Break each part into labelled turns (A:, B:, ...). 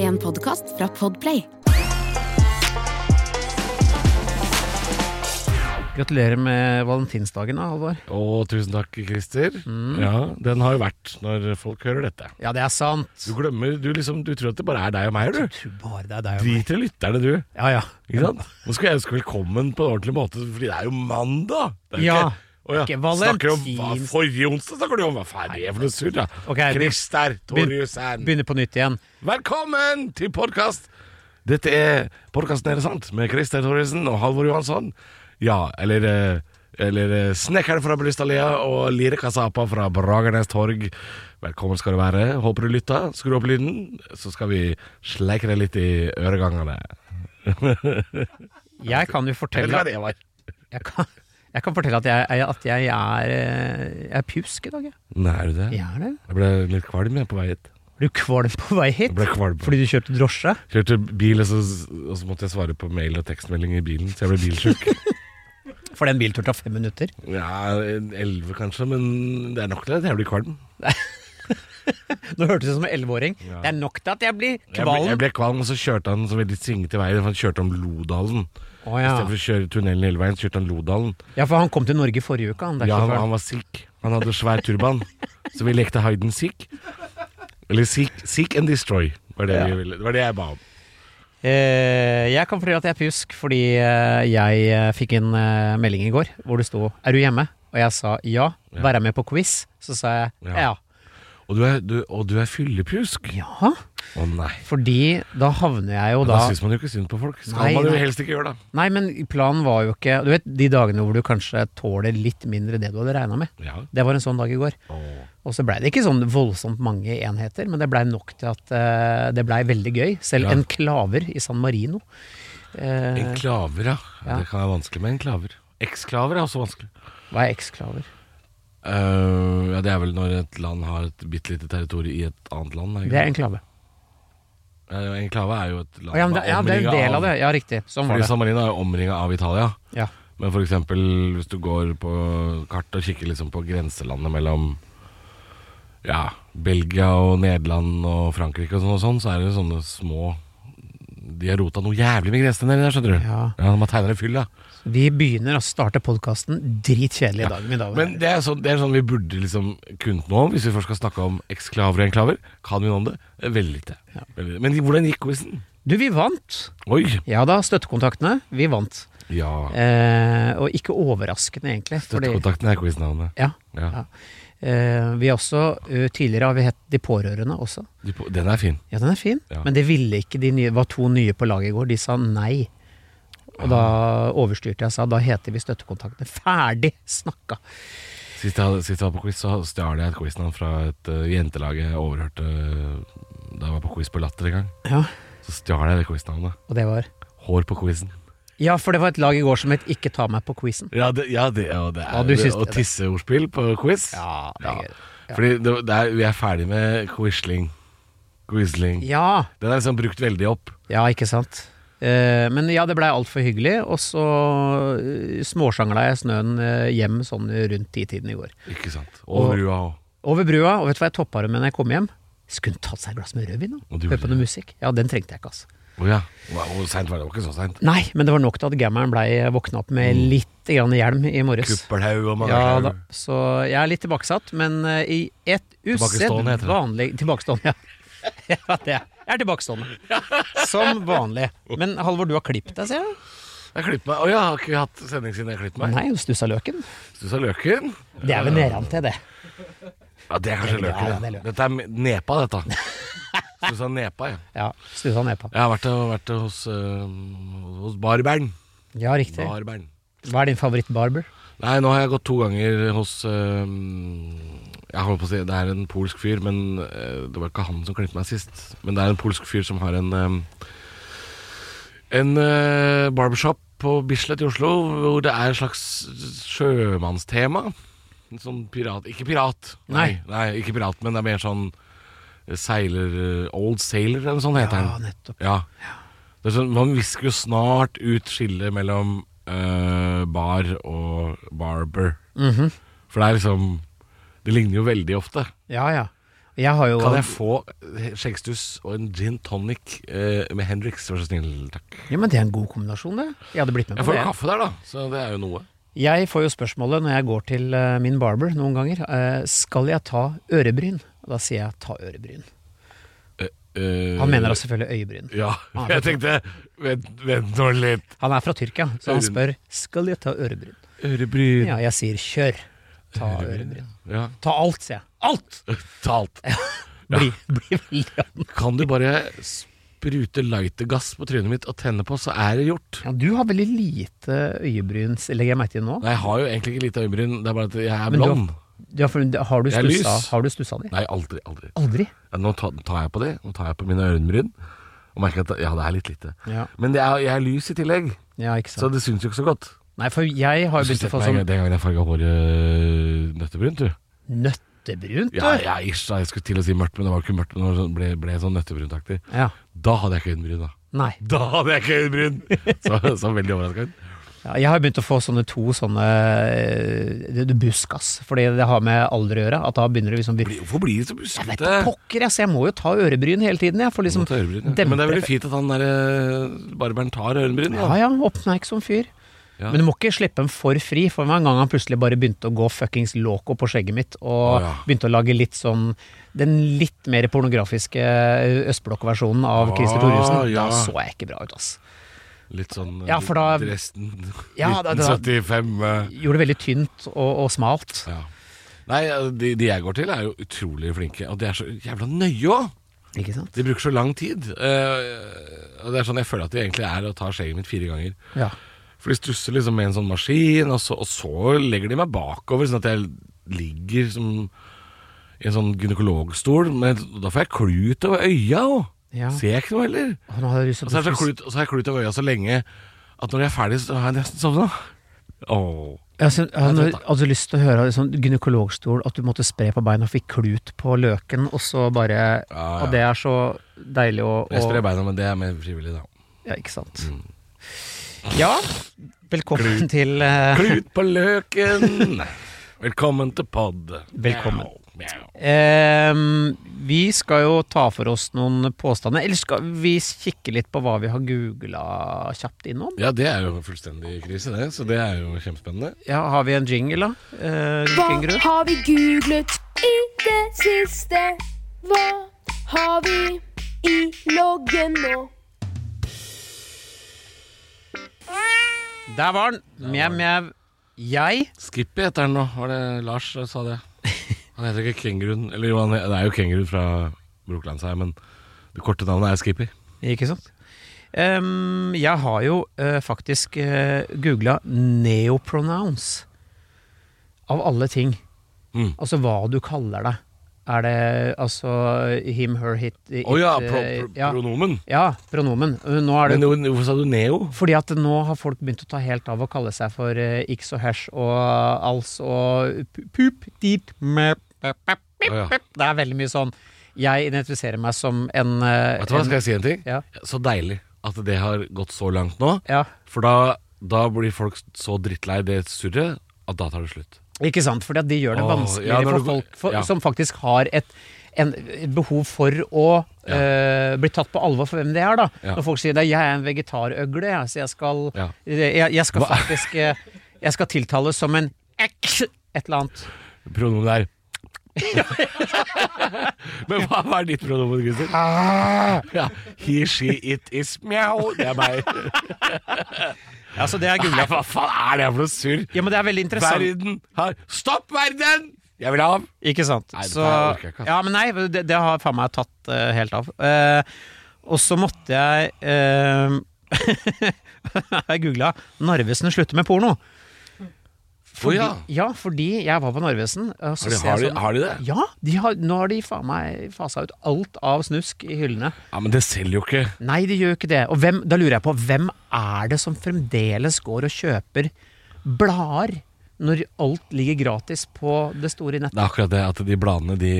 A: En podkast fra Podplay.
B: Gratulerer med valentinsdagen, da, Halvor.
C: Å, tusen takk, Christer.
B: Mm.
C: Ja, den har jo vært når folk hører dette.
B: Ja, det er sant.
C: Du glemmer, du liksom, du tror at det bare er deg og meg, du.
B: tror bare det er deg
C: Driter i lytterne, du.
B: Ja, ja.
C: Ikke sant? Nå skal jeg ønske velkommen på en ordentlig måte, fordi det er jo mandag. Det er jo
B: Ja,
C: ikke- Å ja.
B: ikke
C: Snakker om hva,
B: valentins-
C: Forrige onsdag snakker du om hva faen er det for noe surr, da?
B: Ok, vi-
C: Christer Torjussen.
B: Begynner på nytt igjen.
C: Velkommen til podkast! Dette er podkasten Er det sant? med Christer Thoresen og Halvor Johansson. Ja, eller eh, eller eh, Snekkeren fra Blystadlia og Lirekasapa fra Bragernes Torg. Velkommen skal du være. Håper du lytta. Skru opp lyden, så skal vi sleike deg litt i øregangene.
B: Jeg kan jo
C: Eller
B: fortelle
C: hva
B: at
C: det var.
B: jeg kan, jeg kan fortelle at jeg, at jeg er eh, Jeg er pjusk i dag, jeg.
C: Nei, er du det?
B: Jeg er det.
C: Jeg ble litt kvalm jeg på vei hit.
B: Ble du kvalm på vei
C: Jeg
B: hit?
C: ble kvalm.
B: Fordi du kjørte drosje?
C: Kjørte bil, og så, og så måtte jeg svare på mail og tekstmelding i bilen, så jeg ble bilsjuk.
B: For den bilturen tar fem minutter.
C: Ja, elleve kanskje, men det er nok til at jeg blir kvalm.
B: Nå hørtes det ut som en elleveåring.
C: Ja.
B: Det er nok til at jeg blir
C: Jeg ble, jeg
B: kvalm.
C: ble kvalm, og så kjørte han så veldig svingete vei. for Han kjørte om Lodalen.
B: Å,
C: I
B: ja.
C: stedet for å kjøre tunnelen hele veien, så kjørte han Lodalen.
B: ja, for han kom til Norge forrige uke, han der
C: Ja, han,
B: sjåføren.
C: han var sikh. Han hadde svær turban. så vi lekte Hayden Sikh. Eller Sikh, sikh and Destroy, var det, vi ville. det var det jeg ba om.
B: Eh, jeg kan fortelle at jeg er pjusk fordi eh, jeg eh, fikk en eh, melding i går hvor det sto 'Er du hjemme?' Og jeg sa ja.
C: Ja.
B: Være med på quiz? Så sa jeg
C: Ja.
B: ja.
C: Og du er, du, og du er fyllepjusk. Å
B: Ja,
C: nei.
B: fordi da havner jeg jo
C: Da,
B: da
C: syns man jo ikke synd på folk. Skal
B: Nei,
C: man jo
B: nei.
C: helst ikke gjøre det.
B: Nei, men planen var jo ikke Du vet de dagene hvor du kanskje tåler litt mindre det du hadde regna med.
C: Ja.
B: Det var en sånn dag i går.
C: Åh.
B: Og så blei det ikke sånn voldsomt mange enheter, men det blei nok til at eh, det blei veldig gøy. Selv
C: Ja.
B: en klaver i San Marino. Eh,
C: En klaver, ja.
B: Ja.
C: Det kan være vanskelig med en klaver. Eksklaver er også vanskelig.
B: hva er eksklaver?
C: Eh, ja, Det er vel når et land har et bitte lite territorium i et annet land. ikke
B: Det er
C: sant?
B: en klave.
C: Eh, Enklave er jo et land
B: Å, ja, men det, ja, det er en del av det. Ja, riktig. Sånn var
C: Fordi
B: det.
C: San Marino er jo omringa av Italia.
B: Ja.
C: Men for eksempel hvis du går på kart og kikker liksom på grenselandet mellom ja, Belgia og Nederland og Frankrike og sånn, og sånn så er det sånne små De har rota noe jævlig med grensene nedi der, skjønner du.
B: Ja.
C: de har tegna det fyll, ja.
B: Vi begynner å starte podkasten dritkjedelig i dag. mine damer og
C: Men
B: herrer.
C: det er, sånn, det er sånn vi burde liksom kunnet noe om, hvis vi først skal snakke om eksklaver og enklaver. Kan vi noe om det? Eh, Veldig lite. Veldig lite. Men hvordan gikk quizen?
B: Du, vi vant.
C: Oi!
B: Ja da, støttekontaktene. Vi vant.
C: Ja.
B: Eh, og ikke overraskende, egentlig. Fordi,
C: Støttekontakten er quiznavnet.
B: ja,
C: Ja.
B: Ja. eh, vi har også, eh, tidligere har vi hett De pårørende også.
C: De på- Den er fin.
B: Ja, den er fin,
C: Ja.
B: men det ville ikke de nye, var to nye på laget i går. De sa nei. Og
C: Ah.
B: da overstyrte jeg og sa da heter vi Støttekontaktene. Ferdig snakka!
C: Sist jeg, hadde- sist jeg var på quiz, så stjal jeg et quiznavn fra et eh, jentelag jeg overhørte eh, da jeg var på quiz på Latter en gang.
B: Ja,
C: Så stjal jeg det quiznavnet.
B: og det var
C: Hår på quizen.
B: Ja, for det var et lag i går som het Ikke ta meg på quizen.
C: Ja, det, ja, det, ja, det er
B: Ja, du syns
C: og
B: det.
C: tisseordspill på quiz.
B: Ja, det er
C: Ja.
B: gøy. Ja.
C: Fordi det, det er, vi er ferdig med quisling. Quisling.
B: ja,
C: Den er liksom brukt veldig opp.
B: ja, ikke sant. Eh, men ja, det blei altfor hyggelig, og så eh, småsjangla jeg snøen eh, hjem sånn rundt titiden i går.
C: Ikke sant. Og
B: Og-
C: brua òg.
B: Over brua, og vet du hva jeg toppa det med når jeg kom hjem? Skulle tatt seg et glass med rødvin
C: Og
B: og
C: du
B: høre på
C: gjorde
B: noe musikk. Ja, den trengte jeg ikke, altså.
C: Å ja. Wow, seint var det jo ikke så seint.
B: Nei, men det var nok til at gammeren blei våkna opp med
C: Mm.
B: litt grann hjelm i morges.
C: Kuppelhaug og
B: Ja da,
C: mangaslaug.
B: Så jeg er litt tilbakesatt, men eh, i et
C: Tilbakestående heter det.
B: usedvanlig Tilbakestående, ja. ja det er. Jeg er tilbakestående. Som vanlig. Men Halvor, du har klippet deg, ser jeg.
C: Jeg klippet meg. Å ja, har ikke vi hatt sending siden jeg klippet meg?
B: Nei, du stussa løken.
C: Stussa løken?
B: Det er vel nedan til, det.
C: Ja, det er
B: Det er-
C: kanskje løken.
B: ja, det
C: Ja.
B: er løken.
C: Dette er me- nepa, dette. Stussa nepa, ja.
B: Ja, stussa nedpå.
C: Jeg har vært, vært hos, øh, hos barberen.
B: Ja, riktig.
C: barberen.
B: Hva er din favoritt-barber?
C: Nei, nå har jeg gått to ganger hos øh, Jeg holdt på å si det er en polsk fyr, men øh, det var ikke han som klippet meg sist. Men det er en polsk fyr som har en øh, En øh, barbershop på Bislett i Oslo hvor det er et slags sjømannstema. En Sånn pirat Ikke pirat, nei, nei, ikke pirat, men det er mer sånn seiler eh, Old Sailor, eller noe sånt heter den.
B: Ja, nettopp.
C: Ja. Det er sånn, man visker jo snart ut skillet mellom eh, bar og
B: Mhm.
C: barber. For det er liksom Det ligner jo veldig ofte.
B: Ja, ja. Jeg har jo
C: Kan jeg få skjeggstuss og en gin tonic eh, med Hendrix, vær så snill? Takk.
B: Ja, men Det er en god kombinasjon, det. Jeg hadde blitt med
C: Jeg
B: på
C: får
B: det.
C: jo kaffe der, da, så det er jo noe.
B: Jeg får jo spørsmålet når jeg går til eh, min barber noen ganger eh, Skal jeg ta ørebryn? Og Da sier jeg ta ørebryn. Han
C: Mm.
B: mener da selvfølgelig øyebryn.
C: Eh, Ja,
B: Ah,
C: jeg tenkte Vent, vent nå litt.
B: Han er fra Tyrkia, så han
C: Ørebryn.
B: spør skal jeg ta ørebryn.
C: Ørebryn.
B: Ja, jeg sier kjør. Ta ørebryn.
C: Ja.
B: Ta alt, sier jeg. Alt!
C: Talt.
B: Bli, bli veldig
C: Kan du bare sprute lightergass på trynet mitt og tenne på, så er det gjort.
B: ja, Du har veldig lite øyebryns, legger jeg merke til nå.
C: Nei, jeg har jo egentlig ikke lite øyenbryn, det er bare at jeg er
B: Men du har-
C: blond.
B: Ja, for, har, du
C: Jeg er lys.
B: stussa, har du stussa de?
C: Nei, aldri. aldri.
B: Aldri.
C: Ja, Nå ta- tar jeg på det. Nå tar jeg på mine øyenbryn og merker at ja, det er litt lite.
B: Ja,
C: Men det er, jeg er lys i tillegg,
B: ja ikke
C: så
B: sant.
C: det syns jo ikke så godt.
B: Nei, for jeg har jo begynt å få sånn
C: Den gangen jeg farga håret nøttebrunt, du.
B: nøttebrunt,
C: Ja,
B: du.
C: ja, ish, da, jeg skulle til å si mørkt, men det var ikke mørkt. Men det var sånn, ble, ble sånn nøttebrunt-aktig.
B: Ja.
C: Da hadde jeg ikke øyenbryn, da.
B: Nei.
C: Da hadde jeg ikke øyenbryn! Så, så veldig overraska ut.
B: Ja, jeg har begynt å få sånne to sånne eh, buskas, fordi det har med alder å gjøre. At da begynner det liksom
C: Bli- Hvorfor blir de så buskete?
B: Jeg vet da pokker, jeg, så jeg må jo ta ørebryn hele tiden, jeg. For liksom
C: Mot ørebryn, ja.
B: demper
C: Men det er veldig fint at han der eh, barberen tar øyenbryn.
B: Ja
C: da.
B: ja, oppmerksom fyr.
C: Ja.
B: Men du må ikke slippe dem for fri, for det var en gang han plutselig bare begynte å gå fuckings loco på skjegget mitt, og
C: Å, ja.
B: begynte å lage litt sånn Den litt mer pornografiske eh, østblokkversjonen av
C: Ah,
B: Christer Thoresen.
C: ja.
B: Da så jeg ikke bra ut, ass.
C: Litt sånn eh,
B: Ja, for da-
C: Dresden
B: Ja, da- da-
C: 1975. eh,
B: Gjorde det veldig tynt og, og smalt.
C: ja. Nei, eh, de, de jeg går til, er jo utrolig flinke. Og de er så jævla nøye òg!
B: Ikke sant?
C: De bruker så lang tid. eh, og det er sånn jeg føler at de egentlig er og tar skjegget mitt fire ganger.
B: Ja.
C: For de stusser liksom med en sånn maskin, og så, og så legger de meg bakover, sånn at jeg ligger som i en sånn gynekologstol. Men da får jeg klut over øya òg!
B: ja.
C: Ser jeg ikke noe heller.
B: Å, nå har jeg lyst
C: Og
B: til
C: så
B: å
C: har Altså, jeg
B: bli
C: klut, og så har jeg klut over øya så lenge at når jeg er ferdig, så har jeg nesten sovna. Åh.
B: Jeg hadde,
C: Jeg
B: hadde,
C: vet det.
B: hadde lyst til å høre sånn gynekologstol, at du måtte spre på beina og fikk klut på løken, og så bare
C: Ja, ja.
B: Og det er så deilig å,
C: Jeg sprer
B: å
C: beina, men det er mer frivillig, da.
B: Ja, ikke sant. Ja, velkommen til eh,
C: Klut på løken! Velkommen til pod.
B: Velkommen.
C: Mjau, mjau.
B: ehm, Vi skal jo ta for oss noen påstander. Eller skal vi kikke litt på hva vi har googla kjapt innom?
C: Ja, det er jo fullstendig krise, det. Så det er jo kjempespennende.
B: Ja, har vi en jingle, da? Eh,
A: Hva
B: Kingerud?
A: har vi googlet i det siste? Hva har vi i loggen nå?
B: Der var den! Mjau, mjau. Jeg
C: Skippy heter han nå. Var det Lars som sa det? Han heter ikke Kenguruen. Eller jo, han, det er jo Kenguruen fra Brokelandsheim, men det korte navnet er Skippy.
B: Ikke sant? Ehm, jeg har jo eh, faktisk uh, googla neopronounce. Av alle ting.
C: Mm.
B: Altså hva du kaller deg. Er det altså him, her, hit it,
C: Å ja, pro,
B: eh,
C: pro,
B: ja.
C: pronomen.
B: ja, pronomen. Uh, Nå er det
C: Men hvorfor sa du Neo?
B: fordi at nå har folk begynt å ta helt av å kalle seg for eh, x og hash og eh, als og pu- pup, dit, mep, pep, pep.
C: Å ja.
B: Det er veldig mye sånn. Jeg identifiserer meg som en, eh,
C: Vet du hva,
B: en
C: skal jeg si en ting?
B: Ja.
C: Så deilig at det har gått så langt nå.
B: ja.
C: For da, da blir folk så drittlei det surret at da tar det slutt.
B: Ikke sant, fordi at de gjør det
C: Åh,
B: vanskeligere
C: ja, når
B: for
C: du-
B: folk for,
C: ja.
B: som faktisk har et en, et behov for å
C: Ja.
B: eh, bli tatt på alvor for hvem det er. da
C: Ja.
B: Når folk sier at 'jeg er en vegetarøgle', jeg, så jeg skal,
C: Ja.
B: jeg, jeg skal
C: Hva-
B: faktisk eh, Jeg skal tiltales som en x et eller annet.
C: Pronomen der Men hva, hva er ditt pronomen, Christer?
B: Ah!
C: Ja. He, she, it is mjau. Det er meg.
B: Ja, så Altså, det er
C: Nei, hva faen er det for noe surr?
B: Ja, men det er veldig interessant.
C: Verden har Stopp verden! Jeg vil av!
B: Ikke sant.
C: Nei, dette
B: så,
C: her orker jeg ikke, altså. ass.
B: ja, men nei, det, det har faen meg tatt eh, helt av. Eh, og så måtte jeg eh, Jeg googla 'Narvesen slutter med porno'. Fordi,
C: Å,
B: ja. fordi jeg var på Narvesen. og så
C: Har de,
B: ser jeg
C: har, de,
B: sånn-
C: har de det?
B: Ja, de har, nå har de faen meg fasa ut alt av snusk i hyllene.
C: Ja, Men det selger jo ikke.
B: Nei, de gjør jo ikke det. Og hvem, da lurer jeg på, hvem er det som fremdeles går og kjøper blader når alt ligger gratis på det store nettet?
C: Det er akkurat det at de bladene, de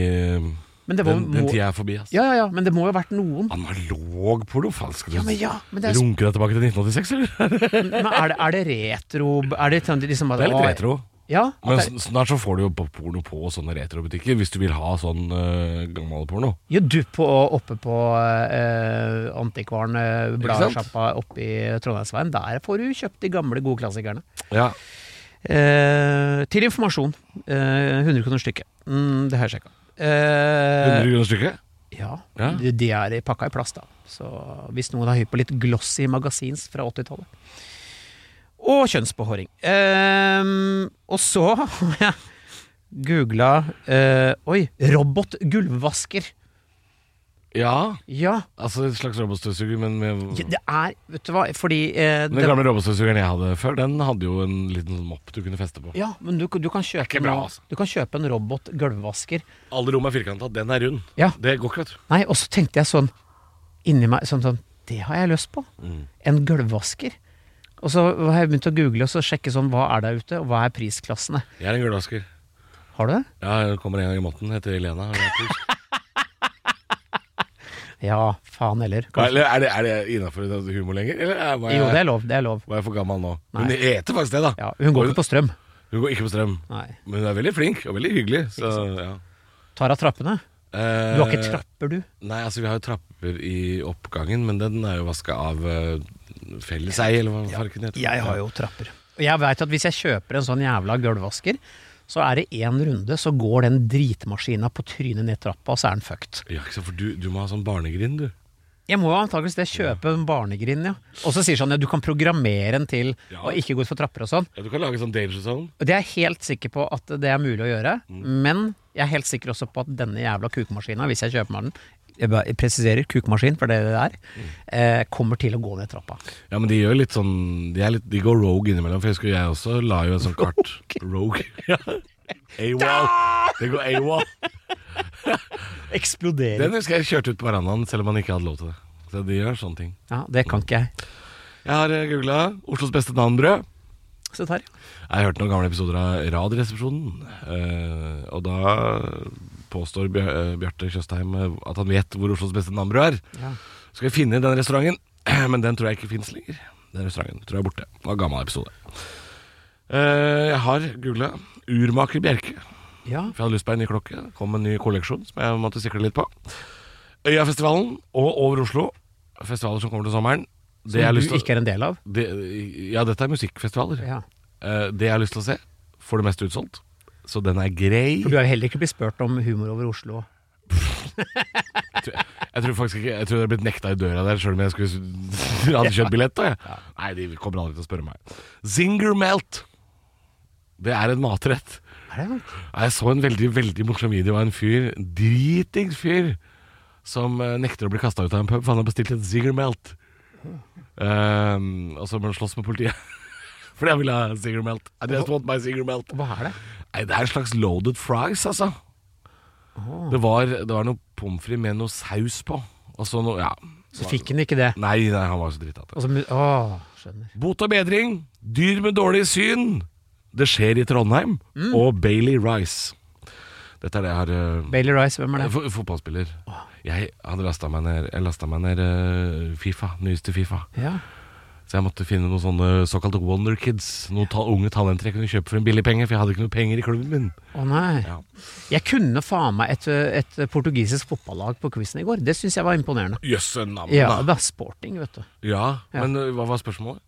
B: Men det var,
C: Den, den
B: må,
C: tida er Ah, forbi, ass.
B: Ja, ja, ja, men det må jo ha vært noen.
C: Analog porno? Faen, skal du
B: Ja, men ja, men det er,
C: runke deg tilbake til 1986, eller?
B: men er, det, er det retro Er det sånn liksom at
C: Det er litt
B: å,
C: retro.
B: Ja, at
C: Men
B: det-
C: sn- snart så får du jo på- porno på sånne retrobutikker, hvis du vil ha sånn uh, gammalporno.
B: Ja, du på, oppe på eh, antikvaren eh, bladsjappa oppe i Trondheimsveien. Der får du kjøpt de gamle, gode klassikerne.
C: Ja.
B: Eh, til informasjon. Eh, 100 kroner stykket. Mm, det har jeg sjekka. Eh,
C: 100 kroner stykket?
B: Ja,
C: Ja.
B: De, de er i pakka i plast, da. Så hvis noen er hypp på litt glossy magasins fra 80-tallet. Og kjønnsbehåring. Ehm, og så har jeg googla Oi! Robotgulvvasker.
C: Ja.
B: Ja,
C: Altså et slags robotstøvsuger, men med
B: ja, det er Vet du hva, fordi eh,
C: Den
B: det-
C: gamle robotstøvsugeren jeg hadde før, den hadde jo en liten sånn mopp du kunne feste på.
B: Ja, men du, du, kan kjøpe
C: ikke bra,
B: en,
C: altså.
B: du kan kjøpe en robotgulvvasker.
C: Alle rom er firkanta, den er rund.
B: Ja.
C: Det går ikke, vet du.
B: Nei, og så tenkte jeg sånn inni meg sånn, sånn Det har jeg lyst på.
C: Mm.
B: En gulvvasker. Og så har jeg begynt å google og så sjekke sånn, hva er der ute, og hva er prisklassene.
C: Jeg er en gulvasker.
B: Har du det?
C: Ja, jeg kommer en gang i måneden, heter Elena. og jeg er pus.
B: Ja, faen heller.
C: Hva,
B: Kanskje.
C: eller er det, er det innafor humor lenger, eller er, var, jeg,
B: Jo, det er lov. Det er lov.
C: var jeg for gammel nå?
B: Nei.
C: Hun heter faktisk det, da.
B: Ja, hun går ikke på strøm.
C: Hun går ikke på strøm.
B: Nei.
C: Men hun er veldig flink og veldig hyggelig. Så, ja.
B: Tar av trappene. Du har ikke
C: Eh,
B: trapper, du.
C: Nei, altså vi har jo trapper i oppgangen, men den er jo vaska av eh, felleseie, eller hva farken heter.
B: Jeg har jo trapper. Og jeg veit at hvis jeg kjøper en sånn jævla gulvvasker, så er det én runde, så går den dritmaskina på trynet ned trappa, og så er den fucked.
C: Ja, ikke sant, for du, du må ha sånn barnegrind, du.
B: Jeg må jo antakeligvis det kjøpe en barnegrind, ja. Og så sier sånn ja, du kan programmere den til
C: Ja.
B: å ikke gå ut for trapper og sånn.
C: Ja, Du kan lage sånn danger zone.
B: Og det er jeg helt sikker på at det er mulig å gjøre, men jeg er helt sikker også på at denne jævla kukemaskina, hvis jeg kjøper meg den, jeg bare presiserer kukemaskin, for det er det det er, eh, kommer til å gå ned trappa.
C: Ja, men de gjør litt sånn De, er litt, de går rogue innimellom, for jeg husker jeg også la jo en sånn kart Rogue. ja. AWOL. Det går AWOL.
B: Eksploderer.
C: Den husker jeg kjørte ut på verandaen selv om man ikke hadde lov til det. Så de gjør sånne ting.
B: Ja, det kan ikke jeg.
C: Jeg har googla Oslos beste nanbrød.
B: Så tar jeg.
C: Jeg har hørt noen gamle episoder av Radioresepsjonen. eh, og da påstår Bjør eh, Bjarte Tjøstheim eh, at han vet hvor Oslos beste nanbrød er.
B: Ja.
C: Skal vi finne den restauranten? Men den tror jeg ikke fins lenger. Den restauranten tror jeg er borte. Det var en gammel episode. Eh, jeg har googla Urmaker Bjerke.
B: ja.
C: For jeg hadde lyst på en ny klokke. Kom en ny kolleksjon som jeg måtte sikre litt på. Øyafestivalen og Over Oslo. Festivaler som kommer til sommeren. Det jeg har
B: Som
C: lyst
B: du
C: til å-
B: ikke er en del av.
C: det, ja, dette er musikkfestivaler.
B: Ja.
C: Eh, det jeg har lyst til å se, får det meste utsolgt. Så den er grei.
B: For du er jo heller ikke blitt spurt om humor over Oslo.
C: Jeg tror faktisk ikke Jeg tror jeg hadde blitt nekta i døra der sjøl om jeg skulle hadde kjøpt billett. Da, jeg. Nei, de kommer aldri til å spørre meg. Zinger melt. Det er en matrett.
B: Er det
C: Jeg så en veldig veldig morsom video av en fyr, en dritings fyr, som eh, nekter å bli kasta ut av en pub, for han har bestilt en Zinger melt. Ehm, og så må han slåss med politiet. Fordi han vil ha en Zinger melt. I just want my Zinger melt.
B: Hva er det?
C: Nei, det er en slags loaded fries, altså. Det, var, det var noe pommes frites med noe saus på. Og så noe Ja.
B: Så fikk han ikke det.
C: Nei, nei, han var så drita.
B: Og så, mu- åh, skjønner.
C: Bot og bedring. Dyr med dårlig syn. Det skjer i Trondheim. Og Bailey Rice. Dette er det jeg har eh,
B: Bailey Rice, hvem er det?
C: F- Fotballspiller. Jeg hadde lasta meg ned, jeg lastet meg ned eh, Fifa. Nyeste Fifa.
B: Ja.
C: Så jeg måtte finne noen sånne såkalte Wonder Kids. Noen ta unge talenter jeg kunne kjøpe for en billig penge, for jeg hadde ikke noe penger i klubben min.
B: Å nei.
C: Ja.
B: Jeg kunne faen meg et, et portugisisk fotballag på quizen i går. Det syns jeg var imponerende.
C: Jøsse navn,
B: Ja, det var sporting, vet du.
C: Ja,
B: Ja.
C: men ø, hva var spørsmålet?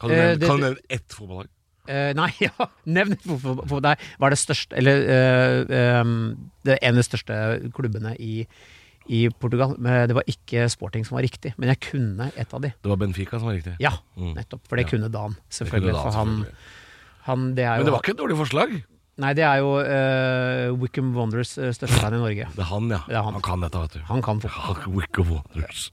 C: Kan du,
B: Eh,
C: nevne,
B: det-
C: kan du nevne ett fotballag?
B: Eh, nei, ja, nevn hvorfor for deg var det største Eller eh, em, det en av de største klubbene i, i Portugal. Men det var ikke sporting som var riktig, men jeg kunne et av de.
C: Det var Benfica som var riktig.
B: Ja,
C: Mm.
B: nettopp. For det
C: Ja.
B: kunne Dan,
C: Det kunne
B: selvfølgelig.
C: da,
B: For han,
C: selvfølgelig.
B: han det er jo
C: Men det var ikke et dårlig forslag.
B: Nei, det er jo eh, Wickham Wonders eh, største fan i Norge.
C: Det er han, ja.
B: Det er han.
C: kan dette, vet du.
B: Han kan fotball.
C: Ja, Wick of Wonders.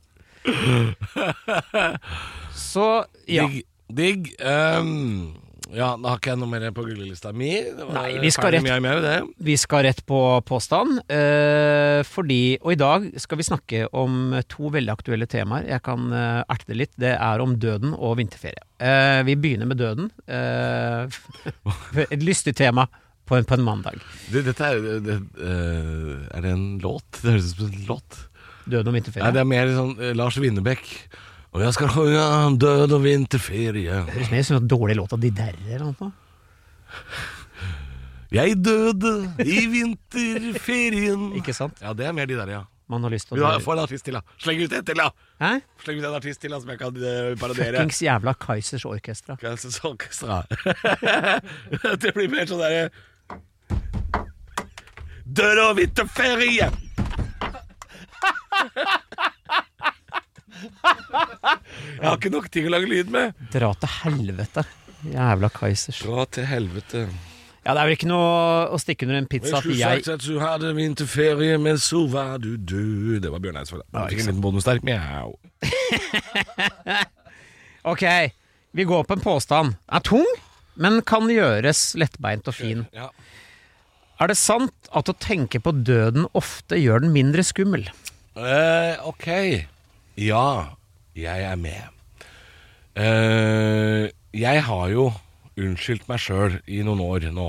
B: Så ja.
C: Digg. digg. Ehm, ja, da har ikke jeg noe mer på googlelista mi. Det var
B: Nei, vi skal
C: ferdig
B: rett-
C: med- med det.
B: Vi skal rett på påstand, eh, fordi Og i dag skal vi snakke om to veldig aktuelle temaer. Jeg kan eh, erte det litt. Det er om døden og vinterferie. Eh, vi begynner med døden. Eh, et lystig tema på en, på en mandag.
C: Du, dette er det, ø, Er det en låt? Det høres ut som en låt.
B: Døden og
C: Nei,
B: vinterferie.
C: det er mer sånn ø, Lars Winnebekk. Og jeg skal sjunge om død og vinterferie.
B: sånn Høres mer ut som en dårlig låt av de derre eller noe.
C: Jeg døde i vinterferien.
B: Ikke sant?
C: Ja, det er mer de der, ja.
B: Man har lyst til
C: Men
B: å
C: da, Få en artist til, da. Sleng ut en til, da!
B: Hæ?
C: Sleng ut en artist til da som jeg kan eh, parodiere.
B: Fuckings jævla Kaizers Orkestra.
C: Kansas Orchestra. det blir mer sånn derre Død og vinterferie! Jeg har ikke nok ting å lage lyd med.
B: Dra til helvete. Jævla Kaizers.
C: Dra til helvete.
B: Ja, det er vel ikke noe å stikke under en pizza
C: Jeg
B: at
C: skulle
B: jeg
C: sagt at du hadde vinterferie, men så var du død. Det var Bjørn Eidsvåg. da. Han fikk en liten bonus der. Mjau.
B: Ok, vi går på en påstand. Er tung, men kan gjøres lettbeint og fin.
C: Ja.
B: Er det sant at å tenke på døden ofte gjør den mindre skummel?
C: Eh, ok. Ja, jeg er med. Eh, jeg har jo unnskyldt meg sjøl i noen år nå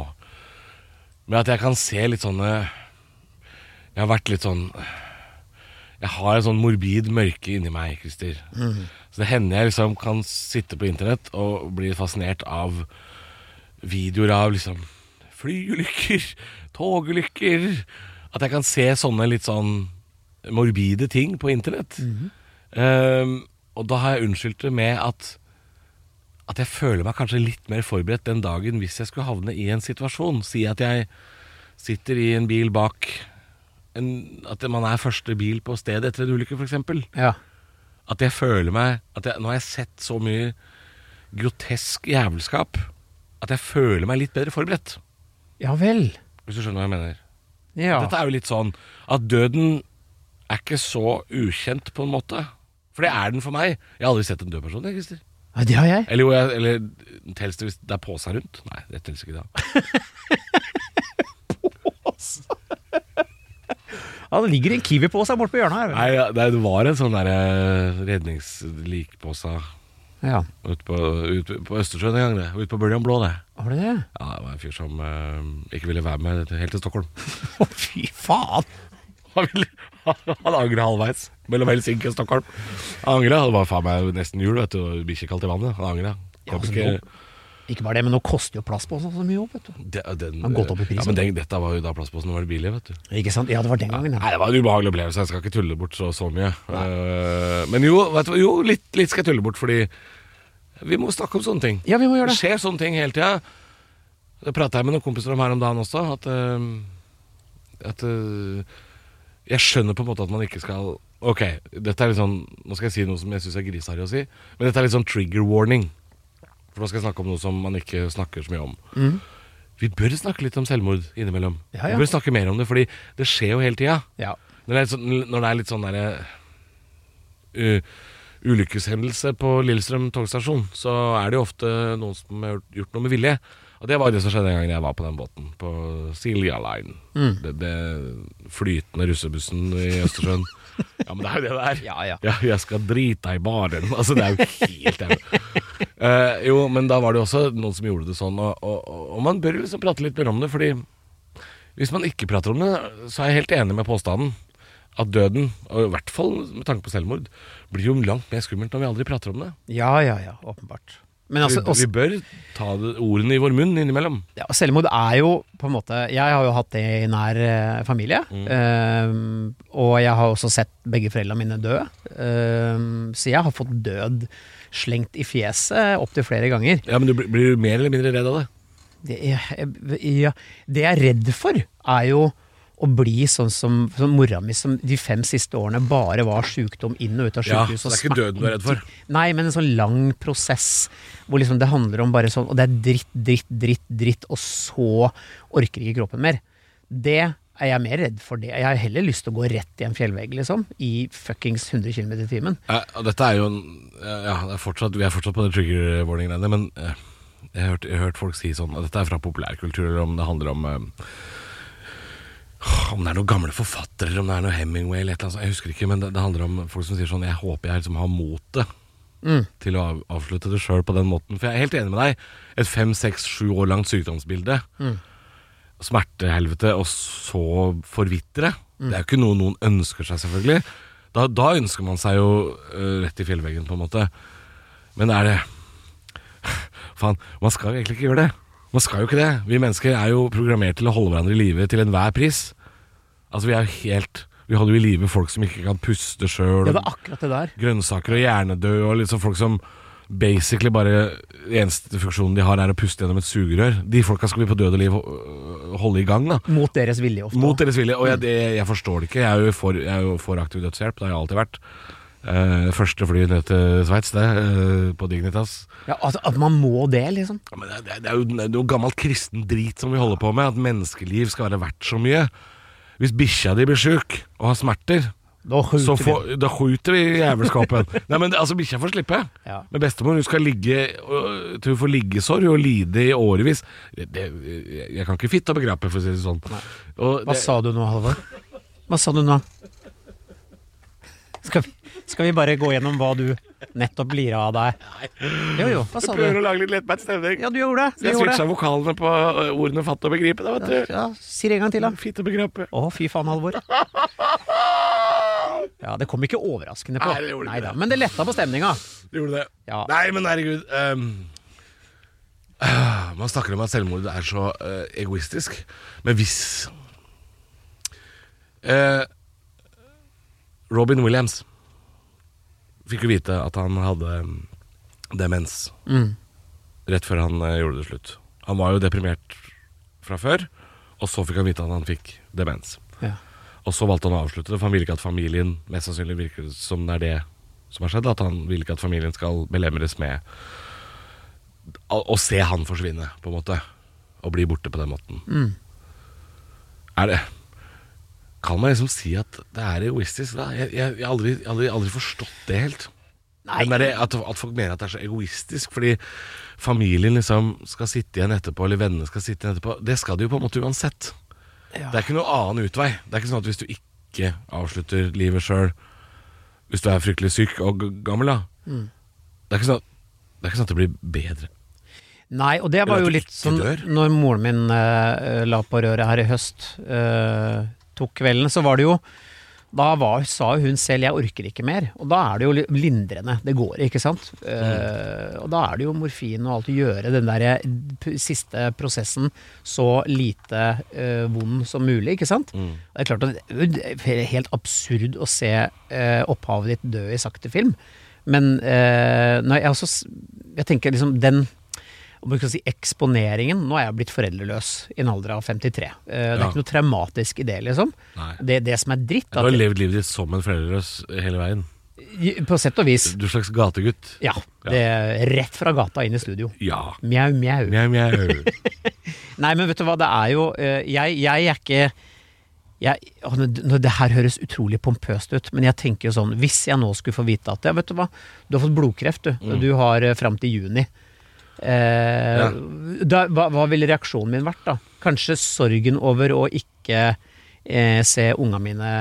C: med at jeg kan se litt sånne Jeg har vært litt sånn Jeg har en sånn morbid mørke inni meg, Christer. Så det hender jeg liksom kan sitte på internett og bli fascinert av videoer av liksom flyulykker, togulykker At jeg kan se sånne litt sånn morbide ting på internett. Ehm, og da har jeg unnskyldt det med at at jeg føler meg kanskje litt mer forberedt den dagen hvis jeg skulle havne i en situasjon. Si at jeg sitter i en bil bak en, At man er første bil på stedet etter en ulykke, f.eks.
B: Ja.
C: At jeg føler meg at jeg, Nå har jeg sett så mye grotesk jævelskap at jeg føler meg litt bedre forberedt.
B: Ja vel.
C: Hvis du skjønner hva jeg mener.
B: Ja.
C: Dette er jo litt sånn at døden er ikke så ukjent, på en måte. For det er den for meg. Jeg har aldri sett en død person. Jeg, Christer.
B: Nei, det har jeg.
C: Eller, jo, jeg, eller tels det hvis det er påsa rundt? Nei, det tels ikke da.
B: Ja, det ligger en kiwi-pose borte på hjørnet her.
C: Nei, ja, det var en sånn derre redningslikpåsa
B: Ja.
C: ute på, ut på Østersjøen en gang, det. Ute på Bøljan Blå, det.
B: Var det det?
C: Ja, det var en fyr som eh, ikke ville være med helt til Stockholm.
B: Å, fy faen!
C: Han, ville, han angra halvveis mellom Helsinki og Stockholm. Han angra. Det var faen meg nesten jul, vet du. og Bikkjekaldt i vannet. Han angra.
B: Ja, altså, nå- Ikke bare det, men nå koster jo plastposen så mye opp, vet du.
C: Det- eh, den,
B: Har gått opp i pris,
C: Ja, men den, dette var jo da plassposten var det billig, vet du.
B: Ikke sant? Ja, det var den gangen. Ja.
C: Nei, det var en ubehagelig opplevelse. Jeg skal ikke tulle bort så, så mye. Eh, men jo, vet du, hva, jo litt, litt skal jeg tulle bort, fordi vi må snakke om sånne ting.
B: Ja, vi må gjøre
C: Det
B: det.
C: skjer sånne ting hele tida. Det prata jeg med noen kompiser om her om dagen også. At, eh, at eh, Jeg skjønner på en måte at man ikke skal Ok, dette er litt sånn nå skal jeg si noe som jeg syns er griseharry å si, men dette er litt sånn trigger warning. For nå skal jeg snakke om noe som man ikke snakker så mye om. Vi bør snakke litt om selvmord innimellom.
B: Mm. Ja, ja.
C: Vi bør snakke mer om det, fordi det skjer jo hele tida.
B: Ja.
C: Når det er, sånn, når det er litt sånn derre uh, Ulykkeshendelse på Lillestrøm togstasjon, så er det jo ofte noen som har gjort- gjort noe med vilje. Og det var det som skjedde den gangen jeg var på den båten, på Silja Line. Det, det flytende russebussen i Østersjøen. ja, men det er jo det det er.
B: Ja, ja.
C: jeg skal drite i baren. Altså, det er jo helt jævlig. Eh, jo, men da var det jo også noen som gjorde det sånn, og, og, og man bør jo liksom prate litt mer om det, fordi hvis man ikke prater om det, så er jeg helt enig med påstanden. At døden, og i hvert fall med tanke på selvmord, blir jo langt mer skummelt når vi aldri prater om det.
B: Ja, ja, ja. Åpenbart. Men altså,
C: Vi,
B: også,
C: vi bør ta det, ordene i vår munn innimellom.
B: ja, selvmord er jo på en måte Jeg har jo hatt det i nær eh, familie.
C: Mm.
B: ehm, og jeg har også sett begge foreldrene mine dø. Ehm, så jeg har fått død slengt i fjeset opptil flere ganger.
C: Ja, Men du blir- blir du mer eller mindre redd av det?
B: Det jeg, ja, det jeg er redd for, er jo å bli sånn som, som mora mi, som de fem siste årene bare var sjukdom inn og ut av
C: Ja,
B: sjukehus.
C: så
B: og
C: det er ikke
B: smerte.
C: døden du er redd for?
B: Nei, men en sånn lang prosess hvor liksom det handler om bare sånn Og det er dritt, dritt, dritt, dritt, og så orker ikke kroppen mer. Det er jeg mer redd for. det. Jeg har heller lyst til å gå rett i en fjellvegg, liksom. I fuckings 100 km i timen.
C: Ja, og dette er jo en, ja, det er fortsatt, Vi er fortsatt på det trigger warning-greiene, men eh, jeg har hørt, jeg har hørt folk si sånn og Dette er fra populærkultur, eller om det handler om eh, Om det er noen gamle forfattere, eller om det er noe Hemingway eller et eller annet sånt. Jeg husker ikke, men det, det handler om folk som sier sånn Jeg håper jeg liksom har motet til å av, avslutte det sjøl på den måten. For jeg er helt enig med deg. Et fem, seks, sju år langt sykdomsbilde, smertehelvete, og så forvitre. Det er jo ikke noe noen ønsker seg, selvfølgelig. Da, da ønsker man seg jo øh, rett i fjellveggen, på en måte. Men er det Faen, man skal jo egentlig ikke gjøre det. Man skal jo ikke det. Vi mennesker er jo programmert til å holde hverandre i live til enhver pris. Altså, vi er jo helt Vi holder jo i live folk som ikke kan puste sjøl,
B: Ja, det er akkurat det der.
C: grønnsaker og hjernedøde, og liksom folk som basically bare Eneste funksjonen de har, er å puste gjennom et sugerør. De folka skal vi på død og liv ho- holde i gang, da.
B: Mot deres vilje ofte.
C: Mot deres vilje. Og jeg, det, jeg forstår det ikke. Jeg er jo for, jeg er jo for aktiv dødshjelp. Det har jeg alltid vært. Eh, første fly ned til Sveits, det. eh, på Dignitas.
B: ja, altså, at man må det, liksom.
C: Ja, men det, det, det er jo det er jo gammel kristen drit som vi holder på med. At menneskeliv skal være verdt så mye. Hvis bikkja di blir sjuk og har smerter,
B: Da
C: så
B: skjuter
C: får, da skjuter vi jævelskapen. Nei, men det- altså, bikkja får slippe.
B: Ja.
C: Men bestemor hun skal ligge øh, til hun får liggesår og lide i årevis. Det, det, jeg- jeg kan ikke fitte og begrape, for å si det sånn. Og
B: Hva
C: det,
B: sa du nå, Halvor? Hva sa du nå? Skal vi, skal vi bare gå gjennom hva du nettopp blir av deg? Jo, jo, hva sa
C: prøver
B: du?
C: å lage litt lettbeint stemning.
B: Ja, du gjorde det. Du
C: jeg
B: gjorde
C: switcha
B: det.
C: vokalene på øh, ordene fatt og begripe, da, vet du.
B: Ja, si det en gang til, da.
C: Fitte og begrape.
B: Å, fy faen, Halvor. Ja, det kom ikke overraskende på.
C: Nei, det gjorde ikke
B: Neida,
C: det.
B: men det letta på stemninga.
C: Gjorde det.
B: Ja.
C: Nei, men herregud. ehm, øh, man snakker om at selvmord er så øh, egoistisk, men hvis eh, Robin Williams fikk jo vite at han hadde ehm, demens rett før han eh, gjorde det slutt. Han var jo deprimert fra før, og så fikk han vite at han fikk demens.
B: Ja.
C: Og så valgte han å avslutte det, for han ville ikke at familien Mest sannsynlig virker det som det er det som har skjedd. At han ville ikke at familien skal belemres med å, å se han forsvinne, på en måte. Og bli borte på den måten. Er det Kan man liksom si at det er egoistisk, da? Jeg, jeg, jeg har aldri, aldri, aldri forstått det helt.
B: Nei.
C: Den derre- at, at folk mener at det er så egoistisk fordi familien liksom skal sitte igjen etterpå, eller vennene skal sitte igjen etterpå. Det skal de jo på en måte uansett.
B: Ja.
C: Det er ikke noe annen utvei. Det er ikke sånn at hvis du ikke avslutter livet sjøl, hvis du er fryktelig syk og g- gammel, da
B: Mm.
C: det, er ikke sånn at, det er ikke sånn at det blir bedre.
B: Nei, og det var
C: Eller at
B: jo
C: du
B: litt
C: ikke
B: sånn
C: dør.
B: Når moren min eh, la på røret her i høst, eh, tok kvelden, så var det jo Da var, sa jo hun selv 'jeg orker ikke mer', og da er det jo li- lindrende. Det går, ikke sant? Eh, Og da er det jo morfin og alt å gjøre den derre p- siste prosessen så lite eh, vond som mulig, ikke sant? Og Det er klart at det er jo helt absurd å se eh, opphavet ditt dø i sakte film, men eh, nei, jeg, også, s- jeg tenker liksom den om man kan si eksponeringen Nå er jeg blitt foreldreløs i en alder av 53. Eh, Det er
C: Ja.
B: ikke noe traumatisk i det, liksom.
C: Nei.
B: Det, det som er dritt,
C: Du har
B: at,
C: levd livet ditt som en foreldreløs hele veien.
B: på sett og vis
C: Du er en slags gategutt.
B: Ja.
C: Ja.
B: Det, rett fra gata inn i studio.
C: Ja.
B: Mjau, mjau.
C: Mjau, mjau.
B: Nei, men vet du hva, det er jo eh, Jeg, jeg er ikke jeg, å, nå- nå- det her høres utrolig pompøst ut, men jeg tenker jo sånn Hvis jeg nå skulle få vite at ja, vet du hva, du har fått blodkreft, du. Du har eh, fram til juni. Eh,
C: Mm. Ja.
B: da, hva, hva ville reaksjonen min vært, da? Kanskje sorgen over å ikke eh, se unga mine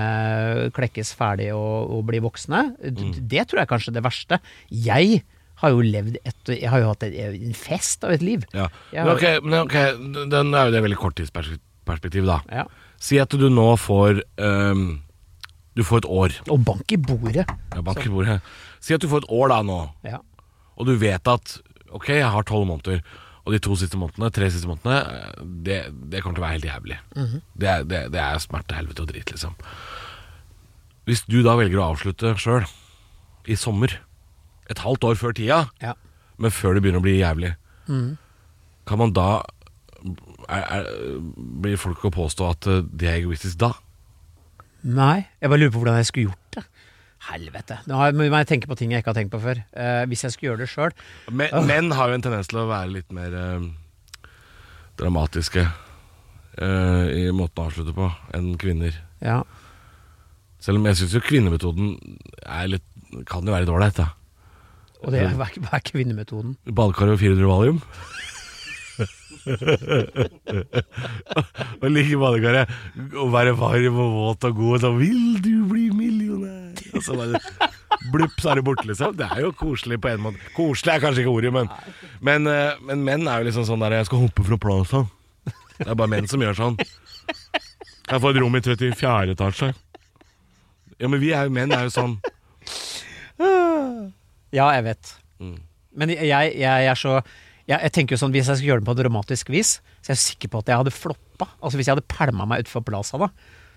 B: klekkes ferdig og, og bli voksne. D-
C: Mm.
B: Det tror jeg kanskje er det verste. Jeg har jo levd et Jeg har jo hatt et- en fest av et liv.
C: Ja.
B: Jeg
C: Men
B: har-
C: ok, men ok, den er jo det veldig korttidsperspektiv, da.
B: Ja.
C: Si at du nå får øhm, Du får et år.
B: Og bank i bordet.
C: Jeg banker i bordet. Si at du får et år da nå,
B: Ja.
C: og du vet at Ok, jeg har tolv måneder. Og de to siste månedene, tre siste månedene, øh, det, det kommer til å være helt jævlig. det, er- det, det er smerte, helvete og drit, liksom. Hvis du da velger å avslutte sjøl, i sommer, et halvt år før tida,
B: ja.
C: men før det begynner å bli jævlig, kan man da er, er, Blir folk å påstå at eh, det er egoistisk da?
B: Nei, jeg bare lurer på hvordan jeg skulle gjort det. Helvete. Nå har jeg- må jeg tenke på ting jeg ikke har tenkt på før. Eh, hvis jeg skulle gjøre det sjøl.
C: Men, Menn har jo en tendens til å være litt mer eh, dramatiske eh, i måten å avslutte på enn kvinner.
B: Ja.
C: Selv om jeg syns jo kvinnemetoden er litt, kan jo være litt ålreit, da.
B: Og det er, hva er- hva er kvinnemetoden?
C: Badekar og 400 valium. og ligge i badekaret og være varm og våt og god og sånn 'Vil du bli millionær?' Og så bare blupp, så er det borte, liksom. Det er jo koselig på en måte. Koselig er kanskje ikke ordet, men Men, eh, men menn er jo liksom sånn der 'Jeg skal hoppe fra plaza'. Det er bare menn som gjør sånn. Jeg får et rom i 34. etasje. Ja, men vi er jo menn er jo sånn
B: Ja, jeg vet. Men jeg, jeg, jeg er så jeg, jeg tenker jo sånn, Hvis jeg skulle gjøre det på dramatisk vis, så er jeg sikker på at jeg hadde floppa. Altså Hvis jeg hadde pælma meg utfor plaza, da.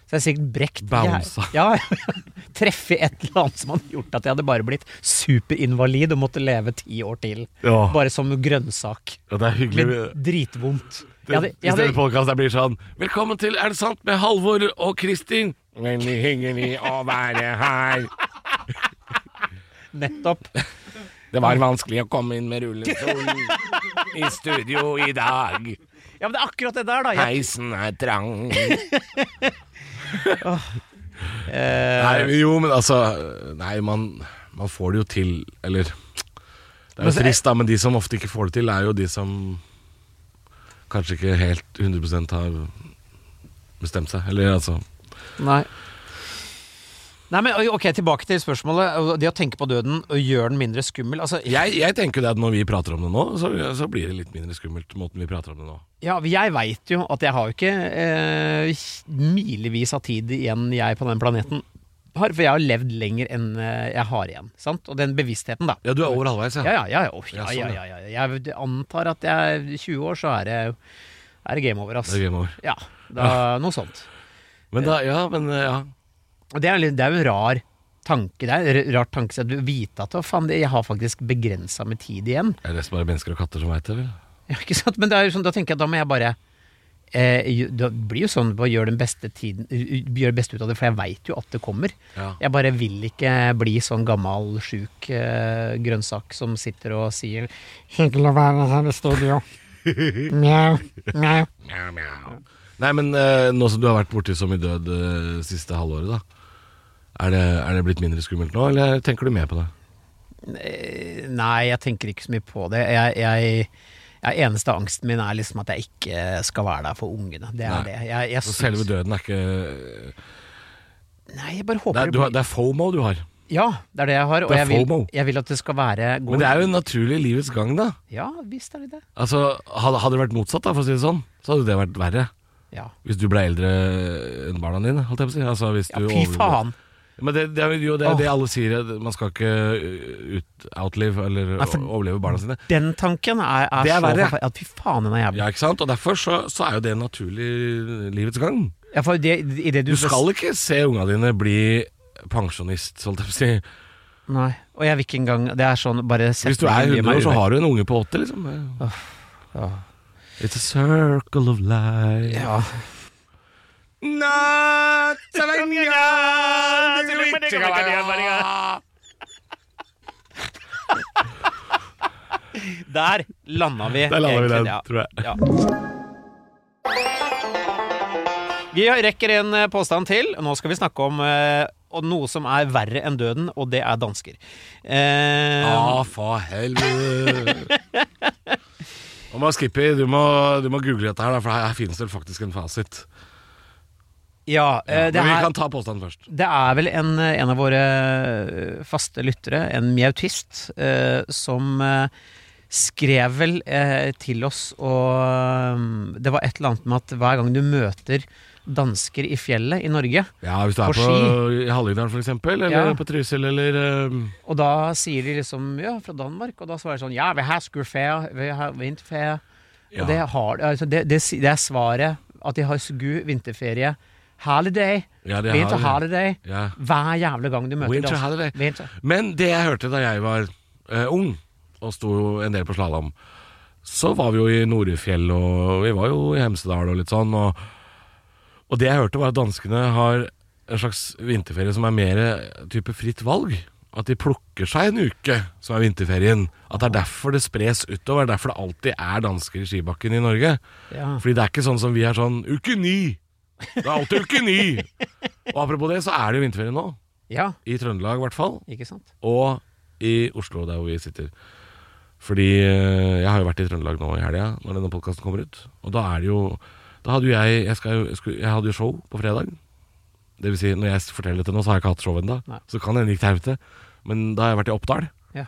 B: Så er jeg sikkert brekt.
C: Bounsa.
B: Jeg- Ja, Treffe et eller annet som hadde gjort at jeg hadde bare blitt superinvalid og måtte leve ti år til.
C: Ja.
B: Bare som grønnsak.
C: Ja, det er hyggelig.
B: Med dritvondt.
C: eh, Det,
B: Jeg hadde- jeg
C: I
B: hadde-
C: stedet podcast der blir sånn Velkommen til Er det sant? med Halvor og Kristin. Veldig hyggelig å være her.
B: Nettopp.
C: Det var vanskelig å komme inn med rullestol i studio i dag.
B: Ja, men det er akkurat det der, da. Jeg,
C: Heisen er trang. nei, men jo, men altså Nei, man, man får det jo til, eller Det er
B: Men
C: jo
B: så-
C: trist, da, men de som ofte ikke får det til, er jo de som kanskje ikke helt 100 har bestemt seg. Eller altså
B: Nei. Nei, men ok, Tilbake til spørsmålet. og Det å tenke på døden og gjøre den mindre skummel. Altså,
C: Jeg, jeg tenker jo det at når vi prater om det nå, så, så blir det litt mindre skummelt, måten vi prater om det nå.
B: ja, Jeg veit jo at jeg har jo ikke eh, milevis av tid igjen jeg på den planeten har. For jeg har levd lenger enn eh, jeg har igjen. sant? Og den bevisstheten, da.
C: Ja, du er over halvveis, ja.
B: Ja, ja, ja. ja, Å, ja,
C: Ja, sånn,
B: ja,
C: ja.
B: ja, ja. Jeg antar at jeg er 20 år, så er det, er det game over, ass.
C: Det er game Ah. over.
B: Ja, da, noe sånt.
C: Men da, ja, men eh, ja.
B: Og det er, litt- det er jo en rar tanke. Det er en rart tankesett. Du vite at å, faen, det- jeg har faktisk begrensa med tid igjen.
C: Er det nesten bare mennesker og katter som veit det, vel?
B: Ja, ikke sant? Men det er jo sånn, da tenker jeg at da må jeg bare eh, jo- Da blir jo sånn bare gjør den beste tiden u- u- Gjør det beste ut av det, for jeg veit jo at det kommer.
C: Ja.
B: Jeg bare vil ikke bli sånn gammal, sjuk eh, grønnsak som sitter og sier
D: Hyggelig å være her i studio. Mjau, mjau.
C: Mjau, mjau. Nei, men eh, nå som du har vært borti så mye død eh, siste halvåret, da. Er det, er det blitt mindre skummelt nå, eller tenker du mer på det?
B: eh, Nei, jeg tenker ikke så mye på det. Jeg, jeg, jeg Eneste angsten min er liksom at jeg ikke skal være der for ungene. Det er
C: Nei.
B: det. Jeg, jeg
C: Så
B: syns-
C: selve døden er ikke
B: Nei, jeg bare
C: det
B: håper
C: er, du har, det er FOMO du har.
B: Ja, det er det jeg har. Og
C: Det er
B: jeg vil,
C: FOMO.
B: jeg vil at det skal være god
C: Men det er jo en naturlig livets gang, da.
B: Ja visst er det det.
C: Altså, hadde, hadde det vært motsatt, da, for å si det sånn, så hadde det vært verre.
B: Ja,
C: Hvis du ble eldre enn barna dine, holdt jeg på å si. Altså, hvis
B: ja
C: du
B: fy
C: overlever-
B: faen!
C: Men det, det er jo det, er det alle sier, at man skal ikke uh, ut, outlive eller
B: Nei, for-
C: overleve barna sine.
B: Den tanken er, er,
C: Det er
B: så
C: verre.
B: forfe- At fy faen, den er jævlig.
C: Ja, ikke sant? Og derfor så, så er jo det en naturlig livets gang.
B: Ja, for det, i det du,
C: Du skal ikke se unga dine bli pensjonist, holdt jeg på å si.
B: Nei. Og jeg vil ikke engang Det er sånn, bare sett
C: Hvis du er 100 år, så har du en unge på 80, liksom. It's a circle of life.
B: ja. Der landa vi.
C: Der lander vi
B: egentlig,
C: den,
B: ja.
C: tror jeg.
B: Vi rekker en eh, påstand til. Nå skal vi snakke om eh, og noe som er verre enn døden, og det er dansker. Eh,
C: Ah, for helvete. Og må Skippy, du må, du må google dette her, da, for her finnes det faktisk en fasit.
B: ja, eh,
C: Men
B: det
C: vi
B: er
C: kan ta påstanden først.
B: Det er vel en, en av våre eh, faste lyttere, en mjautist, eh, som eh, skrev vel eh, til oss og um, Det var et eller annet med at hver gang du møter dansker i fjellet i Norge,
C: Ja, Hvis du er
B: På
C: på, i Hallingdal, for eksempel, eller
B: Ja.
C: på Trysil, eller eh,
B: og da sier de liksom Ja, fra Danmark. Og da svarer de sånn Ja, vi har skurfair, vi har vinterfair.
C: ja.
B: Og det, har, altså, det, det, si- det er svaret. At de har sgu vinterferie. Holiday.
C: Ja, de
B: Winter
C: har-
B: holiday.
C: ja.
B: Hver jævla gang du møter
C: Winter
B: dansker.
C: holiday.
B: Winter.
C: Men det jeg hørte da jeg var eh, ung, og sto en del på slalåm, så var vi jo i Norefjell, og vi var jo i Hemsedal og litt sånn. Og, og det jeg hørte, var at danskene har en slags vinterferie som er mer eh, type fritt valg. At de plukker seg en uke, som er vinterferien. At det er derfor det spres utover. Det er Derfor det alltid er dansker i skibakken i Norge.
B: Ja.
C: Fordi det er ikke sånn som vi er sånn uke ni! Det er alltid uke ni! Og apropos det, så er det jo vinterferie nå.
B: ja,
C: I Trøndelag, i hvert fall
B: ikke sant?
C: og i Oslo, der hvor vi sitter. Fordi eh, jeg har jo vært i Trøndelag nå i helga, når denne podkasten kommer ut. Og da er det jo Da hadde jo jeg Jeg, skal, jo- jeg, skulle, jeg hadde jo show på fredag. Det vil si, når jeg forteller dette nå, så har jeg ikke hatt show ennå.
B: Nei.
C: Så kan det hende det gikk til helvete. Men da har jeg vært i Oppdal,
B: Ja.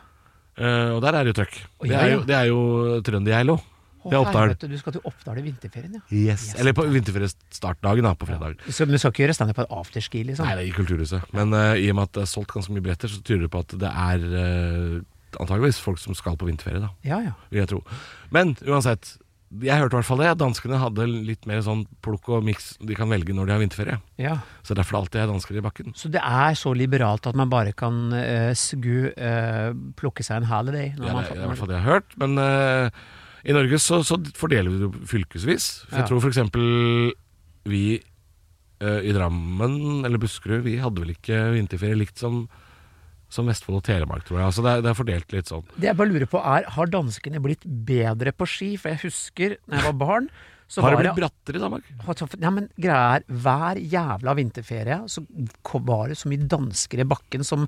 C: eh, og der er det jo trøkk.
B: Å,
C: Det
B: ja,
C: er
B: ja.
C: jo, det er jo Trønder-Geilo. Det er Oppdal.
B: Du skal til Oppdal i vinterferien, ja.
C: Yes. Eller på vinterferiestartdagen, da, på fredag.
B: Du skal, men du skal ikke gjøre standup på et afterski, liksom?
C: Nei, det er i Kulturhuset. Men eh, i og med at det er solgt ganske mye billetter, så tyder det på at det er eh, antageligvis folk som skal på vinterferie, da,
B: Ja, ja.
C: vil jeg tro. Men uansett, jeg hørte i hvert fall det. at Danskene hadde litt mer sånn plukk og miks de kan velge når de har vinterferie.
B: ja.
C: Så derfor er det alltid er dansker i bakken.
B: Så det er så liberalt at man bare kan eh, sgu eh, plukke seg en holiday? Når
C: Det er,
B: man,
C: det er i hvert fall det jeg har hørt. Men eh, i Norge så, så fordeler vi det jo fylkesvis.
B: Ja.
C: For Jeg tror f.eks. vi eh, i Drammen eller Buskerud Vi hadde vel ikke vinterferie likt som, som Vestfold og Telemark, tror jeg. Altså det, er, det er fordelt litt sånn.
B: Det jeg bare lurer på er, har danskene blitt bedre på ski? For jeg husker da jeg var barn så
C: Har det
B: var
C: blitt brattere i Danmark?
B: Ja, men greia er, hver jævla vinterferie så kom, var det så mye dansker i bakken som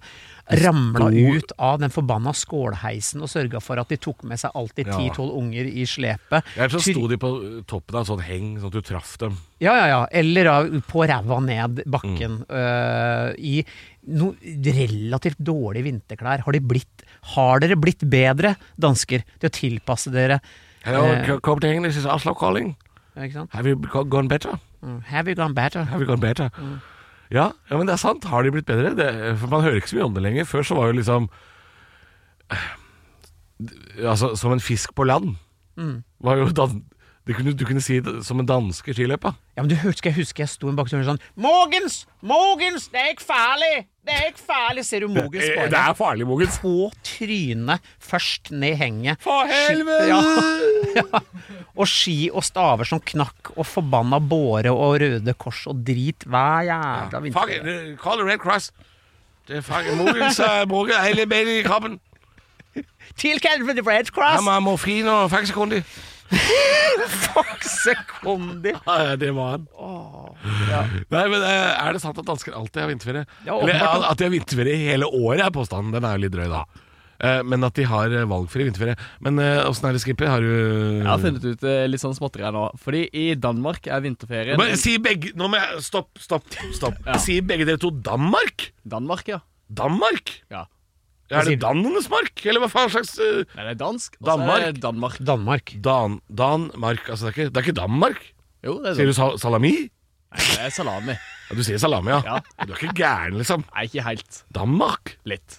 B: ramla
C: sto-
B: ut av den forbanna skålheisen og sørga for at de tok med seg alltid
C: Ja.
B: ti-tolv unger i slepet.
C: Jeg tror så
B: Tyr-
C: sto de på toppen av en sånn heng, sånn at du traff dem.
B: Ja, ja, ja. Eller da, på ræva ned
C: Mm.
B: bakken. øh, I no, relativt dårlige vinterklær. Har, de blitt, har dere blitt bedre, dansker, til å tilpasse dere?
C: Hello,
B: Eh.
C: co- come to English, it's Oslo calling.
B: Ikke sant?
C: Have you go- gone better?
B: Mm. Have you gone better?
C: Have you gone better? Ja, ja, men det er sant. Har de blitt bedre? Det, for Man hører ikke så mye om det lenger. Før så var jo liksom eh, Altså, som en fisk på land. Var jo dan det kunne, du kunne si det som en danske i skiløypa.
B: Ja, men du hørte, skal jeg huske jeg sto i en bakgrunn sånn Mogens! Mogens! Det er ikke farlig! Det er ikke farlig! Ser du Mogens
C: Eh, Det
B: bare
C: er farlig, Mogens.
B: på trynet først ned i henget.
C: For helvete!
B: Ja. Og ski og staver som knakk, og forbanna båre og røde kors og drit hver jævla
C: Fuck,
B: vinter.
C: eh, call the Red Cross. Det er fucking Mogens eh, bruker hele beinet i kroppen.
B: Til Calvary Red Cross!
C: Han har morfin og faksekundi.
B: Fuck sekunder!
C: Ah, Ja, ja, det var han.
B: ja.
C: Nei, men eh, Er det sant at dansker alltid har vinterferie?
B: Ja,
C: Eller
B: åpenbart,
C: at- at de har vinterferie hele året, er påstanden. Den er jo litt drøy, da. Eh, Men at de har eh, valgfri vinterferie. Men eh, åssen er det, Skipper? Har du
E: Jeg har funnet ut eh, litt sånn småtteri her nå. Fordi i Danmark er vinterferien
C: men, Si begge Nå må jeg Stopp, stopp. stopp
E: Ja.
C: Si begge dere to Danmark?
E: Danmark, ja.
C: Danmark?
E: ja.
C: Er det
B: sier-
C: Danmarksmark, eller hva faen slags eh,
E: Nei, det er dansk. og så er
C: Danmark.
E: det Danmark.
B: Danmark.
C: Dan, Danmark Altså, det er ikke, det er ikke Danmark?
E: Jo, det er
C: Sier
E: sånn.
C: du sa, salami?
E: Nei, det er salami.
C: Ja, du sier salami, ja.
E: Ja.
C: Du er ikke gæren, liksom.
E: Nei, ikke helt.
C: Danmark?
E: Litt.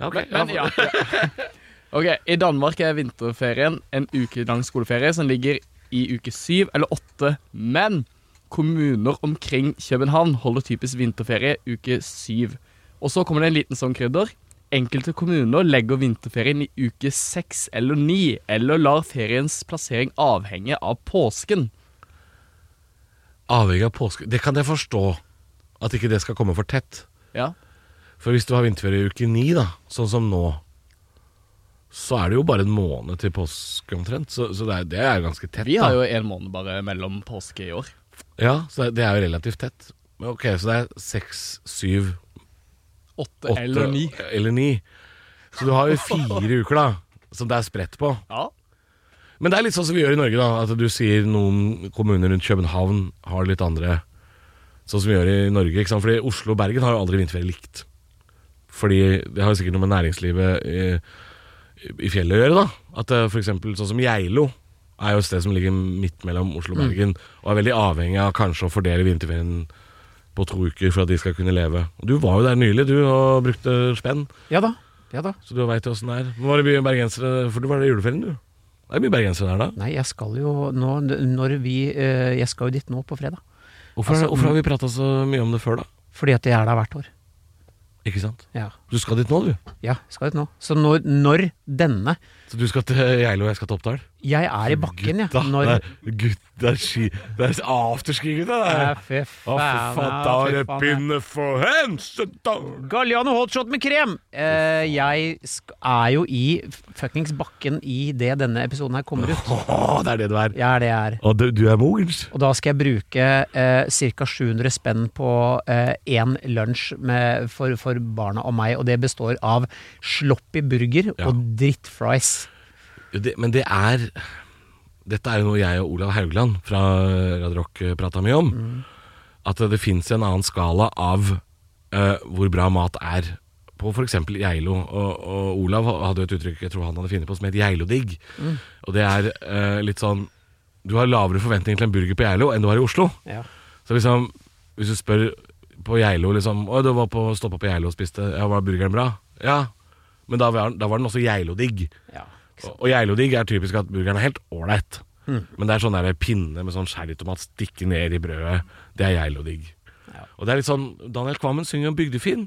C: Ja, ok.
E: Men ja. ja. Ok, I Danmark er vinterferien en ukelang skoleferie som ligger i uke syv eller åtte. Men kommuner omkring København holder typisk vinterferie uke syv. Og så kommer det en liten sånn krydder. Enkelte kommuner legger vinterferien i uke seks eller ni, eller lar feriens plassering avhenge av påsken.
C: Avhengig av påske Det kan jeg forstå At ikke det skal komme for tett
E: Ja,
C: For hvis du har vinterferie i uke 9 da Sånn som nå Så er det jo bare en måned til påske omtrent Så, så det, er, det er ganske tett
E: Vi har
C: da.
E: jo en måned bare mellom påske i år.
C: Ja, så det, det er jo relativt tett Men ok, så det er 6, 7,
E: Åtte
C: 8
E: eller ni.
C: Eller 9 Så du har jo fire uker da Som det er spredt på
E: Ja,
C: Men det er litt sånn som vi gjør i Norge, da. At du sier noen kommuner rundt København har litt andre Sånn som vi gjør i Norge. ikke sant? Fordi Oslo og Bergen har jo aldri vinterferie likt. Fordi det har jo sikkert noe med næringslivet i, i fjellet å gjøre, da. At eh, for eksempel sånn som Geilo er jo et sted som ligger midt mellom Oslo og Bergen, og er veldig avhengig av kanskje å fordele vinterferien på to uker for at de skal kunne leve. Du var jo der nylig, du, og brukte spenn.
B: Ja da. Ja da.
C: Så du veit jo åssen det er. Men var det mye bergensere For du var der i juleferien, du? Det er mye bergensere der, da.
B: Nei, jeg skal jo nå når vi eh, Jeg skal jo dit nå på fredag.
C: Hvorfor,
B: Altså,
C: hvorfor har vi prata så mye om det før, da?
B: Fordi at jeg er der hvert år.
C: Ikke sant?
B: Ja.
C: Du skal dit nå, du.
B: ja jeg skal dit nå. Så når, når denne
C: Så du skal til Geilo, og jeg skal til Oppdal?
B: Jeg er i bakken, jeg. Ja. Når
C: det er- gutt, det er ski Det er afterski, gutta! det
B: Ja,
C: er.
B: Fy
C: Å, fy
B: ja,
C: faen, da er
B: fy faen,
C: det
B: ja.
C: pinne for hensedag!
B: Galliano hotshot med krem! Eh, jeg sk er jo i fuckings bakken i det denne episoden her kommer ut.
C: Å, det er det du er.
B: Jeg er det jeg er.
C: Og du, du er Mogens?
B: Og da skal jeg bruke eh, ca. 700 spenn på eh, én lunsj med, for, for barna og meg, og det består av sloppy burger
C: Ja.
B: og drittfries.
C: Jo, det- Men det er Dette er jo noe jeg og Olav Haugland fra Radio Rock prata mye om. At det fins en annen skala av eh, hvor bra mat er. På f.eks. Geilo. Og, og Olav hadde jo et uttrykk jeg tror han hadde funnet på som het Geilodigg. Og det er eh, litt sånn Du har lavere forventninger til en burger på Geilo enn du har i Oslo.
B: Ja.
C: Så liksom, hvis du spør på Geilo liksom Å, du var på, stoppet på Geilo og spiste Ja, var burgeren bra? Ja Men da var, da var den også geiloddigg.
B: Ja.
C: Og, og geiloddigg er typisk at burgeren er helt ålreit.
B: Mm.
C: Men det er sånn der pinne med sånn sherrytomat stikke ned i brødet. Det er geiloddigg.
B: Ja.
C: Og det er litt sånn Daniel Kvammen synger om Bygdefinn.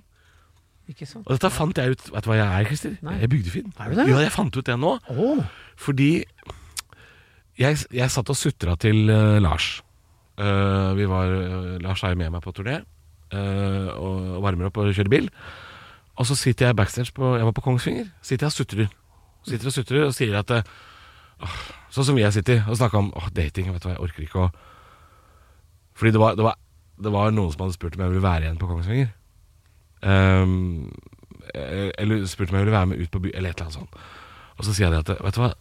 B: Ikke sant?
C: Og dette fant jeg ut Vet du hva jeg er, Christer?
B: Nei.
C: Jeg er Bygdefinn.
B: Er du det?
C: Ja, jeg fant ut det nå.
B: Åh.
C: Fordi jeg, jeg satt og sutra til eh, Lars. Eh, vi var, eh, Lars er jo med meg på turné eh, og, og varmer opp og kjører bil. Og så sitter jeg backstage på Jeg var på Kongsvinger. Sitter jeg og sutrer. Sitter og sutrer og sier at eh, «Åh», Sånn som jeg sitter og snakker om åh, dating. Vet du hva, jeg orker ikke å Fordi det var, det, var, det var noen som hadde spurt om jeg ville være igjen på Kongsvinger. Ehm, eh, eller spurte om jeg ville være med ut på by, eller et eller annet sånt. Og så sier jeg det at Vet du hva,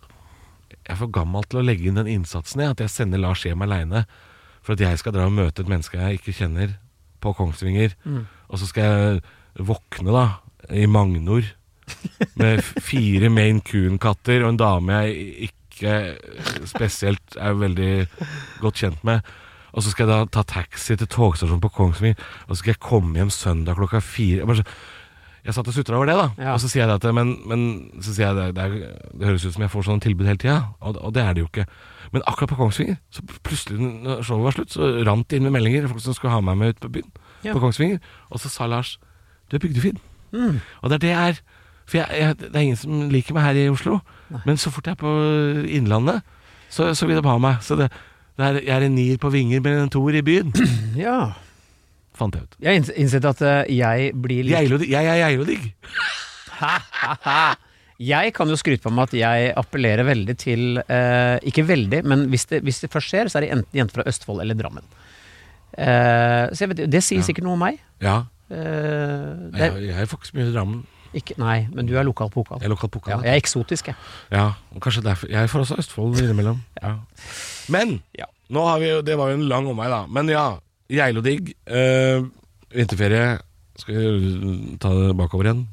C: jeg er for gammel til å legge inn den innsatsen jeg, at jeg sender Lars hjem aleine for at jeg skal dra og møte et menneske jeg ikke kjenner, på Kongsvinger. Og så skal jeg våkne, da, i Magnor med f- fire Maine Coon-katter og en dame jeg ikke spesielt er veldig godt kjent med. Og så skal jeg da ta taxi til togstasjonen på Kongsvinger, og så skal jeg komme hjem søndag klokka fire. Jeg bare så- Jeg satt og sutra over det, da.
B: Ja.
C: Og så sier jeg det at men, men så sier jeg det, det, er, det høres ut som jeg får sånne tilbud hele tida, og, og det er det jo ikke. Men akkurat på Kongsvinger, så plutselig når showet var slutt, så rant det inn med meldinger folk som skulle ha meg med ut på byen.
B: Ja.
C: På Kongsvinger Og så sa Lars Du er bygdefin.
B: Mm.
C: Og det er det jeg er. For jeg, jeg, det er ingen som liker meg her i Oslo. Men så fort jeg er på Innlandet, så, så vil de ha meg. Så det, det er, jeg er en nier på vinger, men en toer i byen.
B: Ja.
C: Fant jeg ut.
B: Jeg har inns- innsett at eh, jeg blir litt
C: Geilo- Jeg er geilodigg.
B: Jeg kan jo skryte på meg at jeg appellerer veldig til eh, Ikke veldig, men hvis det, hvis det først skjer, så er det enten jenter fra Østfold eller Drammen. Eh, så jeg vet, det sier
C: Ja.
B: sikkert noe om meg.
C: Ja.
B: Eh, det,
C: Jeg, jeg får ikke så mye i Drammen.
B: er ikke, nei, men du er lokal pokal.
C: Jeg er lokal
B: Ja,
C: pokal.
B: jeg er eksotisk, jeg.
C: Ja, og kanskje derfor Jeg får også Østfold innimellom. Ja. Men
B: Ja.
C: nå har vi jo Det var jo en lang omvei, da. Men ja. Geilodigg. eh, vinterferie. Skal vi mm, ta det bakover igjen?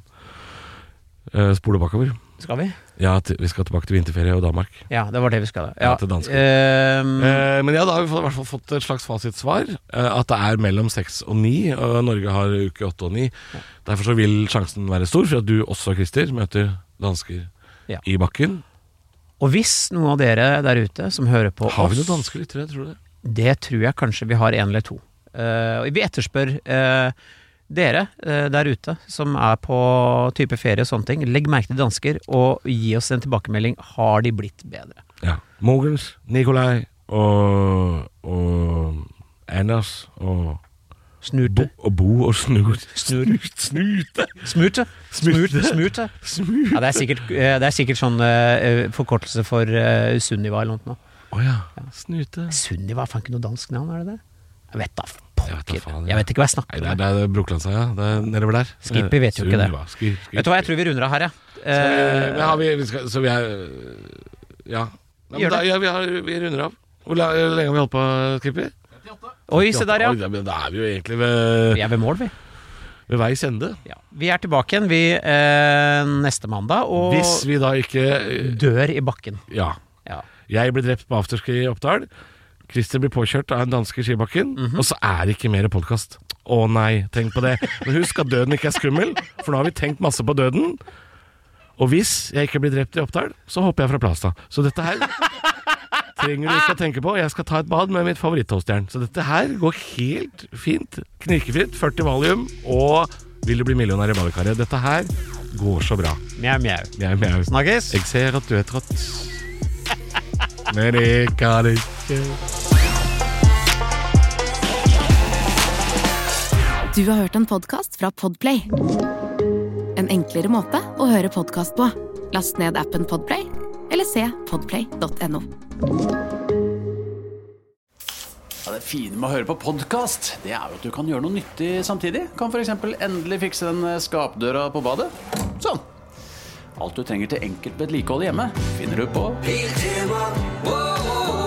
C: Eh, spole bakover.
B: Skal vi?
C: Ja, til- vi skal tilbake til vinterferie og Danmark.
B: Ja, det var det vi skal.
C: Ja, til dansker.
B: eh,
C: Eh, men ja, da har vi fått- i hvert fall fått et slags fasitsvar. eh, at det er mellom seks og ni, og Norge har uke åtte og ni. Derfor så vil sjansen være stor for at du også, Christer, møter dansker
B: Ja.
C: i bakken.
B: og hvis noen av dere der ute som hører på
C: Har vi
B: oss-
C: noen dansker lyttere, tror du det?
B: Det tror jeg kanskje vi har en eller to. Eh, og vi etterspør eh, dere eh, der ute som er på type ferie og sånne ting. Legg merke til dansker, og gi oss en tilbakemelding. Har de blitt bedre?
C: Ja. Mogens, Nikolai og, og Anders og Bo
B: Snurte.
C: og, Bo og Snut.
B: Snur.
C: Snut. Snute!
B: Smurte. Smurte. Smurte.
C: Smut.
B: Ja, det er sikkert, eh, det er sikkert sånn eh, forkortelse for eh, Sunniva eller noe. sånt nå.
C: Å ja. Snute.
B: Sunniva er faen ikke noe dansk navn, er det det? Jeg vet da
C: Jeg vet da
B: pokker.
C: faen, ja.
B: Jeg vet ikke hva jeg
C: Nei,
B: snakker
C: det er,
B: om.
C: det er Brokelandsheia. Det er nedover der.
B: Skippy vet jo ikke det.
C: Sunniva, Skip- Skip-
B: Vet du hva, jeg tror vi runder av her, jeg.
C: Eh,
B: Eh,
C: Men har vi, vi skal, Så vi er Ja. Nei,
B: Gjør
C: men da,
B: det.
C: ja vi, har, vi runder av. Hvor la- lenge har vi holdt på, Skipper?
B: Oi, se der, ja.
C: Oi, da- men Da er vi jo egentlig ved,
B: Vi er ved mål, vi.
C: ved veis ende.
B: Ja. Vi er tilbake igjen vi, eh, neste mandag, og
C: Hvis vi da ikke
B: dør i bakken.
C: Ja.
B: Ja.
C: Jeg ble drept på afterski i Oppdal. Christer blir påkjørt av en danske i skibakken. Og så er det ikke mer podkast. Å nei, tenk på det. Men husk at døden ikke er skummel, for nå har vi tenkt masse på døden. Og hvis jeg ikke blir drept i Oppdal, så hopper jeg fra Plasta. Så dette her trenger du ikke å tenke på. Jeg skal ta et bad med mitt favoritttoastjern. Så dette her går helt fint. Knirkefritt, 40 valium og vil du bli millionær i badekaret. Dette her går så bra.
B: Mjau, mjau.
C: Jeg er med.
B: Snakkes!
C: Jeg ser at du er trøtt. Men det kan ikke
F: Du har hørt en podcast fra Podplay En enklere måte å høre podcast på Last ned appen Podplay Eller se podplay.no
G: Ja, det fine med å høre på podkast, det er jo at du kan gjøre noe nyttig samtidig. Kan f.eks. endelig fikse den eh, skapdøra på badet. Sånn. Alt du trenger til enkelt vedlikehold hjemme, finner du på
H: Biltema. Wow.